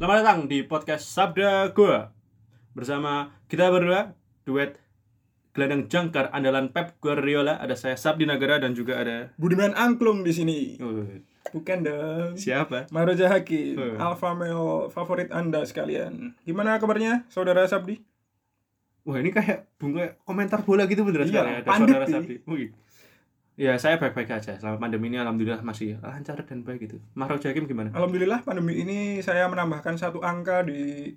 Selamat datang di podcast Sabda Gua Bersama kita berdua Duet gelandang jangkar andalan Pep Guardiola Ada saya Sabdi Nagara dan juga ada Budiman Angklung di sini. Uh, Bukan dong. Siapa? Maroja Hakim, Eh. Alfa Romeo favorit Anda sekalian. Gimana kabarnya, Saudara Sabdi? Wah ini kayak bunga komentar bola gitu beneran Iya, sekarang ya, pandit saudara nih. Sabdi Wih. Ya saya baik-baik aja Selama pandemi ini alhamdulillah masih lancar dan baik gitu Mahro Hakim gimana? Alhamdulillah pandemi ini saya menambahkan satu angka di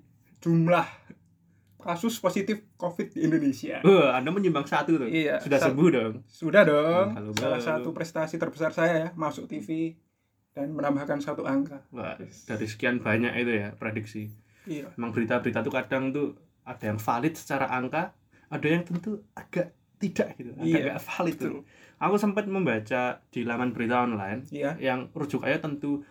jumlah kasus positif COVID di Indonesia. Uh, anda menyumbang satu tuh Iya, Sudah satu. sembuh dong Sudah dong, Halo, salah baru. satu prestasi terbesar saya ya, masuk TV dan menambahkan satu angka. Wah, dari sekian banyak itu ya prediksi Iya. Emang berita-berita tuh kadang tuh ada yang valid secara angka, ada yang tentu agak tidak gitu, agak Iya, nggak valid tuh. Betul. Aku sempat membaca di laman berita online Iya, yang rujukannya tentu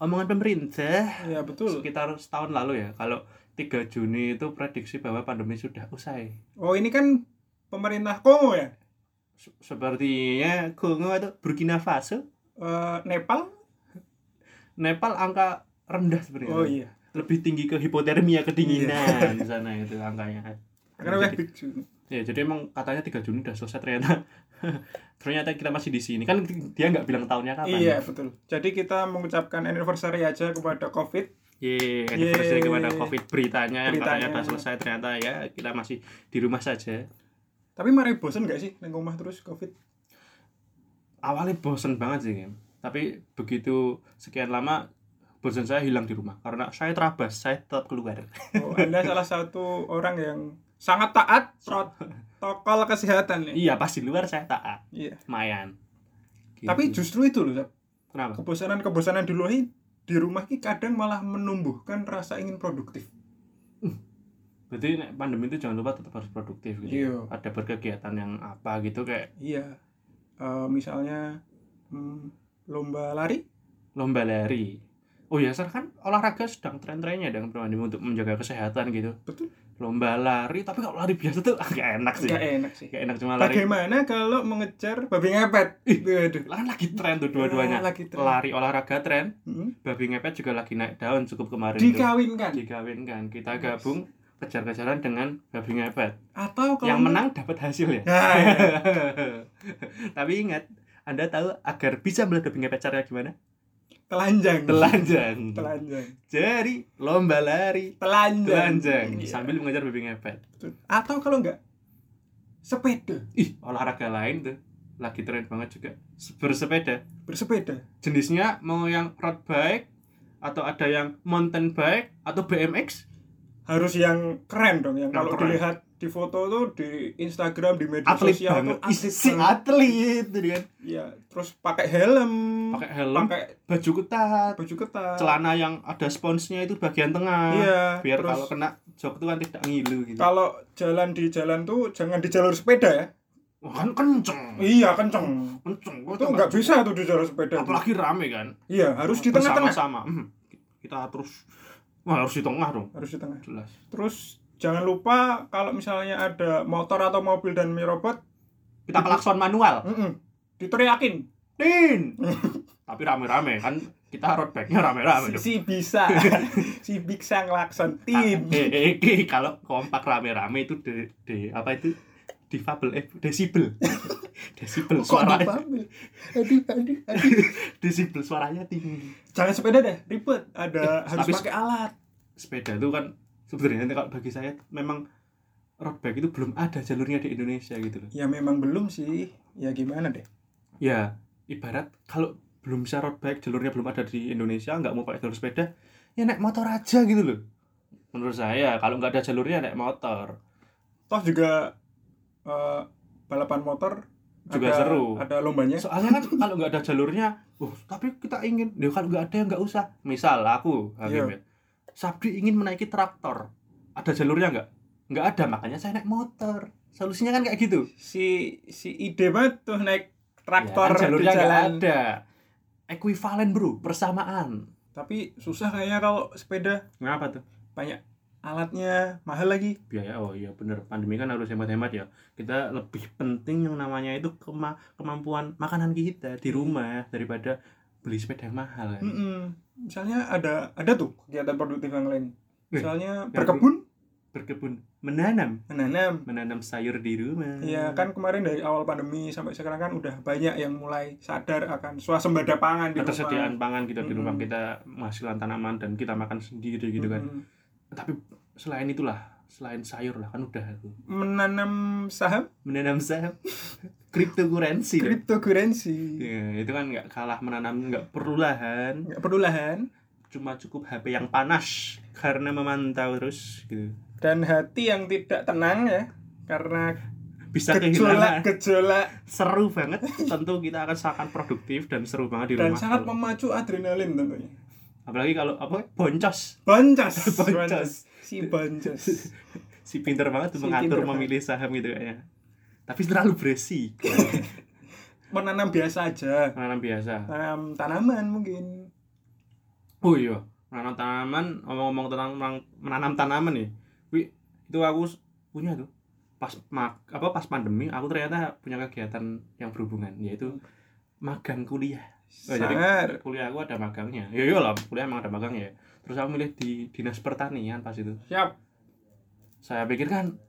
omongan pemerintah iya betul. sekitar setahun lalu ya. Kalau 3 Juni itu prediksi bahwa pandemi sudah usai. Oh, ini kan pemerintah Kongo ya? Se- Sepertinya Kongo atau Burkina Faso, Eh, Nepal? Nepal angka rendah sebenarnya. Oh iya. Lebih tinggi ke hipotermia kedinginan di sana itu angkanya. Karena Jadi- weh big June. Ya, jadi emang katanya 3 Juni udah selesai ternyata. ternyata kita masih di sini. Kan dia nggak bilang tahunnya kapan. Iya betul. Jadi kita mengucapkan anniversary aja kepada COVID. Ye, anniversary Yeay. kepada Covid beritanya yang katanya Beritanya. udah selesai ternyata ya kita masih di rumah saja. Tapi mari bosen gak sih neng rumah terus COVID? Awalnya bosen banget sih, Kim. tapi begitu sekian lama bosen saya hilang di rumah karena saya terabas, saya tetap keluar. Oh, anda salah satu orang yang sangat taat protokol kesehatan ya. iya, pas di luar saya taat, Iya. lumayan. Gitu. Tapi justru itu loh, Sab. kenapa? kebosanan-kebosanan di luar ini, di rumah ki kadang malah menumbuhkan rasa ingin produktif. Berarti nek pandemi itu jangan lupa tetap harus produktif gitu. Iya. Ada berkegiatan yang apa gitu kayak Iya. Eh, misalnya hmm, lomba lari. lomba lari. Oh ya, sekarang kan olahraga sedang tren-trennya dong Bro Andi, untuk menjaga kesehatan gitu. Betul. Lomba lari, tapi kalau lari biasa tuh agak enak sih. Gak enak sih. Gak enak cuma lari. Bagaimana kalau mengejar babi ngepet? Waduh. Lah kan lagi tren tuh dua-duanya. Ah, lagi tren. Lari olahraga tren, Hmm. babi ngepet juga lagi naik daun cukup kemarin tuh. Dikawinkan. Dikawinkan. Kita Nice. gabung kejar-kejaran dengan babi ngepet. Atau kalau Yang menang dapat hasil ya. Nah, iya. tapi ingat, Anda tahu agar bisa melihat babi ngepet caranya gimana? telanjang Telanjang. telanjang Jadi, lomba lari telanjang, telanjang Iya. sambil mengejar babi ngepet. Betul. atau kalau enggak sepeda Ih, olahraga lain tuh lagi tren banget juga. Se- Bersepeda. bersepeda Jenisnya mau yang road bike atau ada yang mountain bike atau BMX? harus yang keren dong yang Yang kalau keren. dilihat di foto tuh di Instagram di media Atlet sosial banget. tuh Ih, atlet si banget. atlet gitu kan. Iya, terus pakai helm Pakai helm, pakai baju ketat, baju ketat celana yang ada sponsnya itu bagian tengah. iya Biar terus kalau kena jok itu kan tidak ngilu gitu. kalau jalan di jalan tuh jangan di jalur sepeda ya Wah, kan kenceng. iya kenceng Hmm. Kenceng. Gua itu tuh nggak nggak- bisa tuh di jalur sepeda tuh. Apalagi rame kan. iya harus di tengah-tengah sama. Kita terus Wah, harus di tengah dong. harus di tengah Jelas. Terus jangan lupa kalau misalnya ada motor atau mobil dan mie robot, Kita klakson manual. mm-mm, diteriakin. Din. Tapi rame-rame kan kita road bike-nya Si, rame-rame. si bisa, si bisa ngelakson Eh, tim. eh, eh, kalau kompak rame-rame itu de, de apa itu difabel eh desibel. desibel Kok suaranya dipamil? Aduh, aduh, aduh. desibel suaranya tinggi. Jangan sepeda deh, ribet. Ada Eh, harus tapi- pakai alat. Sepeda itu kan sebenarnya kalau bagi saya memang road bike itu belum ada jalurnya di Indonesia gitu loh. Ya memang belum sih. Ya gimana deh? Ya, ibarat kalau belum bisa road bike jalurnya belum ada di Indonesia nggak mau pakai jalur sepeda ya naik motor aja gitu loh menurut saya kalau nggak ada jalurnya naik motor Toh juga eh, balapan motor Juga ada, seru. Ada lombanya. soalnya kan kalau nggak ada jalurnya "Oh, tapi kita ingin ya kalau nggak ada ya nggak usah misal aku Habib Iya. ya, Sabdi ingin menaiki traktor ada jalurnya nggak nggak ada makanya saya naik motor solusinya kan kayak gitu Si si ide banget tuh naik Ya traktor kan di jalurnya nggak jalan. ada ekuivalen bro persamaan Tapi susah kayaknya kalau sepeda kenapa Nah, tuh banyak alatnya mahal lagi biaya oh iya bener pandemi kan harus hemat-hemat ya kita lebih penting yang namanya itu kema- kemampuan makanan kita di rumah daripada beli sepeda yang mahal kan. Mm-mm. Misalnya ada ada tuh kegiatan produktif yang lain. Eh, Misalnya yang berkebun, Berkebun, menanam, menanam. menanam sayur di rumah. Iya kan kemarin dari awal pandemi sampai sekarang kan udah banyak yang mulai sadar akan swasembada pangan di ketersediaan pangan kita di rumah Mm-mm. kita menghasilkan tanaman dan kita makan sendiri rumah. gitu kan. Mm-mm. Tapi selain itulah, selain sayur lah kan udah aku Menanam saham menanam saham cryptocurrency. dong. cryptocurrency. Ya, itu kan nggak kalah menanam nggak perlu lahan, Nggak perlu lahan cuma cukup HP yang panas karena memantau terus gitu. dan hati yang tidak tenang ya karena Bisa kehilangan. gejolak-gejolak Seru banget. Tentu kita akan sangat produktif dan seru banget di dan rumah. sangat Kalau- memacu adrenalin tentunya. Apalagi kalau apa boncos. Boncos, Boncos. si boncos. Si pinter banget tuh Si mengatur pinter banget. memilih saham gitu kayaknya. Tapi terlalu beresiko. menanam biasa aja Menanam biasa. menanam tanaman mungkin Oh iya, menanam tanaman, ngomong-ngomong tentang menang- menanam tanaman nih. Wi, itu aku s- punya tuh. Pas mak, apa pas pandemi aku ternyata punya kegiatan yang berhubungan yaitu magang kuliah. Oh, jadi- sangar Kuliah aku ada magangnya. Ya iyalah, kuliah emang ada magang ya. Terus aku milih di Dinas Pertanian pas itu. siap Saya pikir kan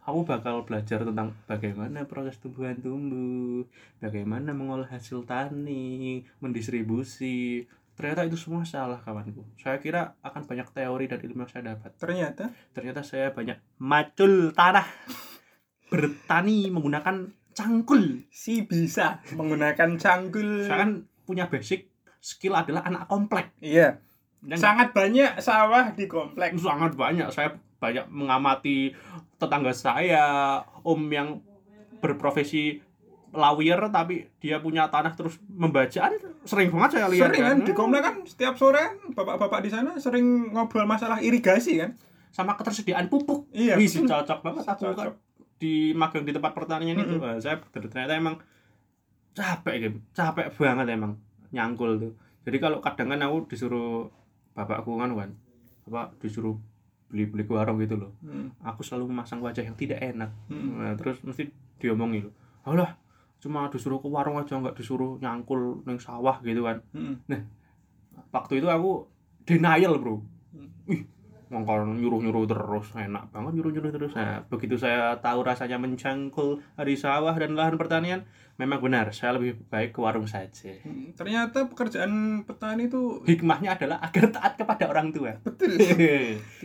aku bakal belajar tentang bagaimana proses tumbuhan tumbuh, bagaimana mengolah hasil tani, mendistribusi. Ternyata itu semua salah kawanku. Saya kira akan banyak teori dan ilmu yang saya dapat. ternyata Ternyata saya banyak macul tanah, bertani menggunakan cangkul. si bisa menggunakan cangkul Saya kan punya basic skill adalah anak komplek. iya Dan sangat banyak sawah di komplek sangat banyak saya banyak mengamati tetangga saya om yang berprofesi lawyer tapi dia punya tanah terus membajaan sering banget saya lihat sering kan di komplek kan setiap sore bapak-bapak di sana sering ngobrol masalah irigasi kan sama ketersediaan pupuk iya Wih, sih, betul. cocok banget aku kan Cocok. di magang di tempat pertanian itu Mm-mm. Wah, saya ter- ternyata emang capek gitu capek banget emang nyangkul tuh jadi kalau kadang kan aku disuruh bapakku kan kan bapak disuruh beli beli ke warung gitu loh Hmm, aku selalu memasang wajah yang tidak enak hmm. Nah, terus mesti diomongin alah cuma disuruh ke warung aja nggak disuruh nyangkul neng sawah gitu kan Hmm. waktu itu aku denial bro Hmm. ih ngongkol nyuruh nyuruh terus enak banget nyuruh nyuruh terus nah begitu saya tahu rasanya mencangkul di sawah dan lahan pertanian memang benar saya lebih baik ke warung saja Hmm, ternyata pekerjaan petani itu hikmahnya adalah agar taat kepada orang tua betul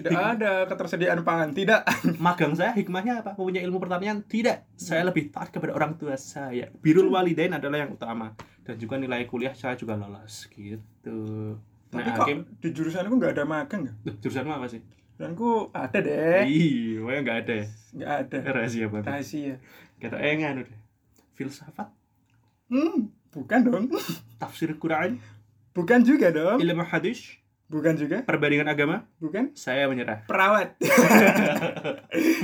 tidak ada ketersediaan pangan tidak magang saya hikmahnya apa mempunyai ilmu pertanian tidak Hmm. saya lebih taat kepada orang tua saya birul walidain adalah yang utama dan juga nilai kuliah saya juga lolos gitu tapi nah kok hakim di jurusanku nggak ada magang ya Duh, jurusanmu apa sih jurusanku ada eh. deh ih wah nggak ada ya nggak ada rahasia banget rahasia kata engan udah filsafat Hmm, bukan dong. tafsir Quran Bukan juga dong. ilmu hadis Bukan juga. perbandingan agama Bukan. saya menyerah Perawat. Iya,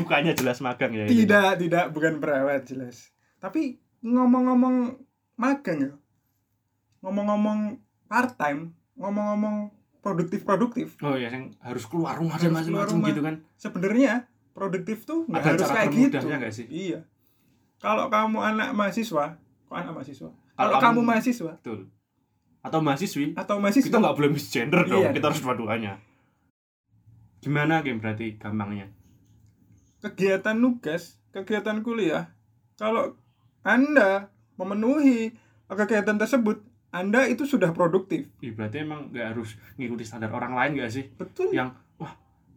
bukannya jelas magang ya ini. tidak, tidak. Bukan perawat, jelas. Tapi ngomong-ngomong magang ya. Ngomong-ngomong part-time. Ngomong-ngomong produktif-produktif. oh ya yang harus keluar rumah Harus dan keluar macam-macam rumah. gitu kan Sebenarnya produktif tuh nggak Ada harus cara kayak gitu. termudahnya nggak sih? Iya. Kalau kamu anak mahasiswa, kok anak mahasiswa? Kalau kamu- kamu mahasiswa betul atau mahasiswi atau mahasiswa kita nggak boleh misgender dong Iya. kita harus dua-duanya gimana game berarti gampangnya kegiatan nugas, kegiatan kuliah, kalau Anda memenuhi kegiatan tersebut, Anda itu sudah produktif. Ih, berarti emang nggak harus ngikuti standar orang lain nggak sih Betul. Ya.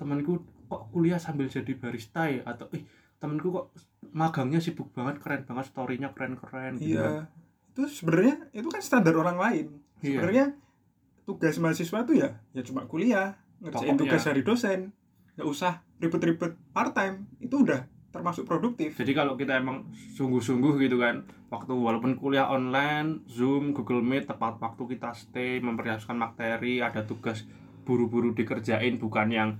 temanku kok kuliah sambil jadi barista ya atau ih temanku kok magangnya sibuk banget keren banget storynya keren-keren gitu kan. Iya. Itu sebenarnya itu kan standar orang lain. Iya. Sebenarnya tugas mahasiswa itu ya ya cuma kuliah, ngerjain Pokoknya. tugas dari dosen. Nggak usah ribet-ribet part time, itu udah termasuk produktif. jadi kalau kita emang sungguh-sungguh gitu kan waktu walaupun kuliah online zoom google meet tepat waktu kita stay mempersiapkan materi ada tugas buru-buru dikerjain bukan yang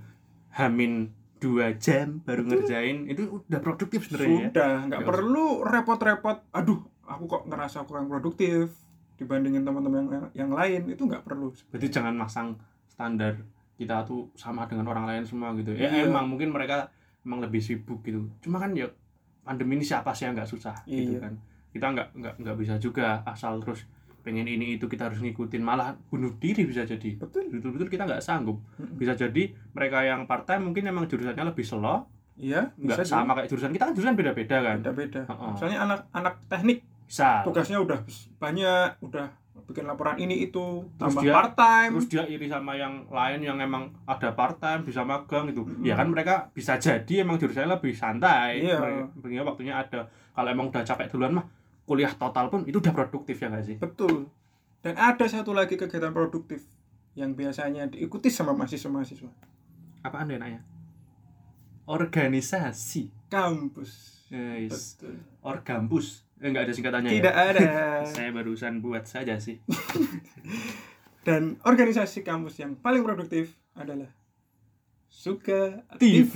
hamin dua jam baru ngerjain itu udah produktif sebenarnya ya. Sudah, nggak Nggak perlu repot-repot. Aduh, aku kok ngerasa kurang produktif dibandingin teman-teman yang, yang lain itu nggak perlu berarti jangan masang standar kita tuh sama dengan orang lain semua gitu ya Iya. emang mungkin mereka emang lebih sibuk gitu cuma kan ya pandemi ini siapa sih yang nggak susah gitu Iya. kan kita nggak nggak nggak bisa juga asal terus pengen ini itu kita harus ngikutin malah bunuh diri bisa jadi betul betul-betul kita nggak sanggup Mm-mm. bisa jadi mereka yang partai mungkin emang jurusannya lebih slow iya nggak sama kayak jurusan kita kan jurusan beda-beda kan beda beda Heeh. misalnya anak anak teknik bisa tugasnya udah banyak udah bikin laporan ini itu Terus tambah dia- part time terus dia iri sama yang lain yang emang ada part time bisa magang gitu Mm-mm. ya kan mereka bisa jadi emang jurusannya lebih santai Hmm. Iya. Mereka- waktunya ada kalau emang udah capek duluan mah kuliah total pun itu udah produktif ya nggak sih Betul. Dan ada satu lagi kegiatan produktif yang biasanya diikuti sama mahasiswa-mahasiswa. apaan tuh enaknya organisasi Kampus. guys Betul. orgampus eh, nggak ada singkatannya Tidak ya? ada. saya barusan buat saja sih Dan organisasi kampus yang paling produktif adalah suka TV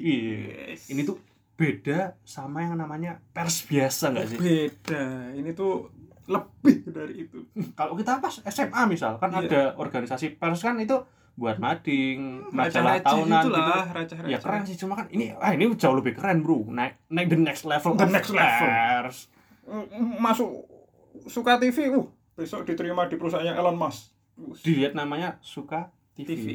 Iya. Yes. ini tuh beda sama yang namanya pers biasa nggak sih beda. Ini tuh lebih dari itu. kalau kita pas SMA misal kan Iya. ada organisasi pers kan itu buat mading majalah Raja-raja tahunan gitu itulah, raja-raja. ya keren sih cuma kan ini ah ini jauh lebih keren bro naik naik the next level The of next level. pers. Mm, Masuk suka TV, uh, besok diterima di perusahaannya Elon Musk. Uh, dilihat namanya suka TV. TV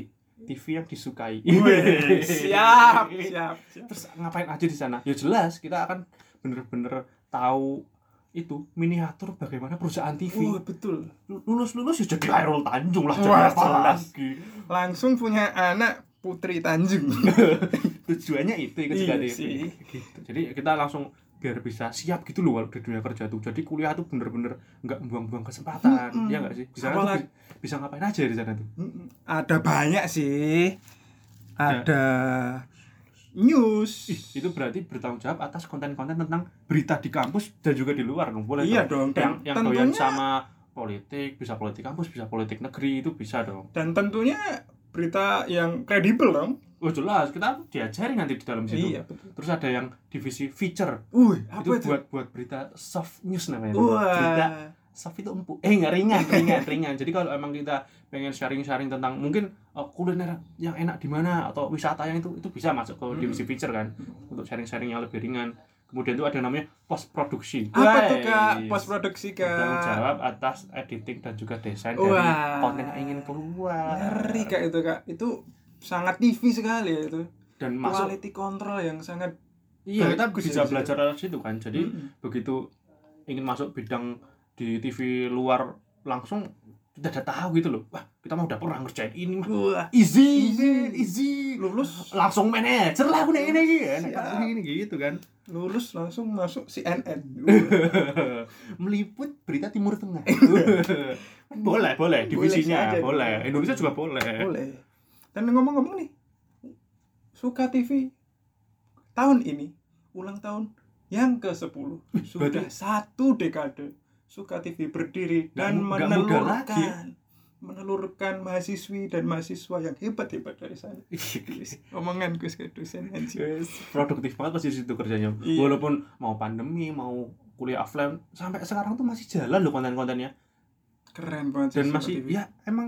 TV, yang disukai Iya. Wih, siap, siap, siap. terus ngapain aja di sana ya jelas kita akan bener-bener tahu itu miniatur bagaimana perusahaan TV Wah, betul. lulus lulus ya jadi Hairul Tanjung lah jadi Wah, apa jelas. lagi Langsung punya anak Putri Tanjung. tujuannya itu ikut Iya juga di- sih. gitu. jadi kita langsung biar bisa siap gitu loh kalau di dunia kerja tuh jadi kuliah tuh bener-bener nggak buang-buang kesempatan Mm-mm. ya nggak sih bisa Apa tuh lagi? bi- bisa ngapain aja di sana tuh Ada banyak sih. Ada news. Ya. Ih, itu berarti bertanggung jawab atas konten-konten tentang berita di kampus dan juga di luar dong boleh Iya dong dong. yang Dan yang tentunya doyan sama politik bisa politik kampus bisa politik negeri itu bisa dong dan tentunya berita yang kredibel dong. oh jelas kita diajari nanti di dalam situ Iya, betul. terus ada yang divisi feature Wih, apa itu, itu? buat buat berita soft news namanya tuh. berita Wah. soft itu empuk eh nggak ringan ringan ringan jadi kalau emang kita pengen sharing sharing tentang mungkin eh, kuliner yang enak di mana atau wisata yang itu itu bisa masuk ke Hmm. divisi feature kan untuk sharing sharing yang lebih ringan kemudian itu ada namanya post produksi Apa tuh Kak? Post produksi bertanggung Kak. jawab atas editing dan juga desain Wah. dari konten yang ingin keluar Ngeri Kak itu Kak. Itu sangat TV sekali ya itu. dan masuk Quality control yang sangat iya kita bagus Hmm. bisa ya, belajar dari situ kan jadi Mm-mm. begitu ingin masuk bidang di TV luar langsung kita udah tahu gitu loh wah kita mah udah pernah ngerjain ini mah Wah, easy Easy. easy lulus langsung manajer lah aku nih ini Siap. ini gitu kan lulus langsung masuk CNN. meliput berita timur tengah boleh boleh divisinya saja. boleh, Indonesia juga boleh Boleh. Dan ngomong-ngomong nih, Suka TV tahun ini ulang tahun yang ke-10 sudah satu dekade Suka TV berdiri Nggak dan mu- nggak muda lagi. menelurkan menelurkan mahasiswi dan mahasiswa yang hebat-hebat dari saya. Omongan gue sebagai dosen anjing. Yes, produktif banget pasti di situ kerjanya Iya. walaupun mau pandemi mau kuliah offline sampai sekarang tuh masih jalan loh konten-kontennya Keren banget sih dan Suka masih TV. ya emang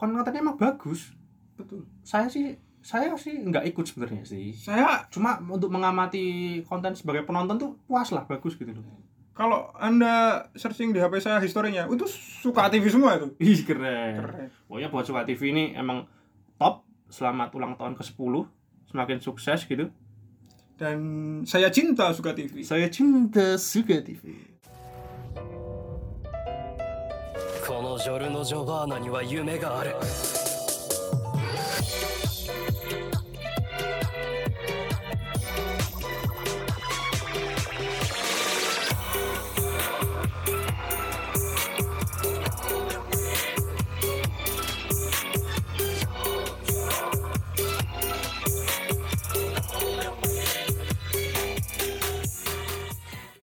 konten-kontennya emang bagus betul. saya sih saya sih nggak ikut sebenarnya sih Saya cuma untuk mengamati konten sebagai penonton tuh puas lah bagus gitu loh kalau Anda searching di HP saya historinya, itu Suka TV semua itu. ih keren Keren. pokoknya buat Suka TV ini emang top selamat ulang tahun ke 10 semakin sukses gitu Dan saya cinta Suka TV. saya cinta Suka TV このジョルノ・ジョバーナには夢がある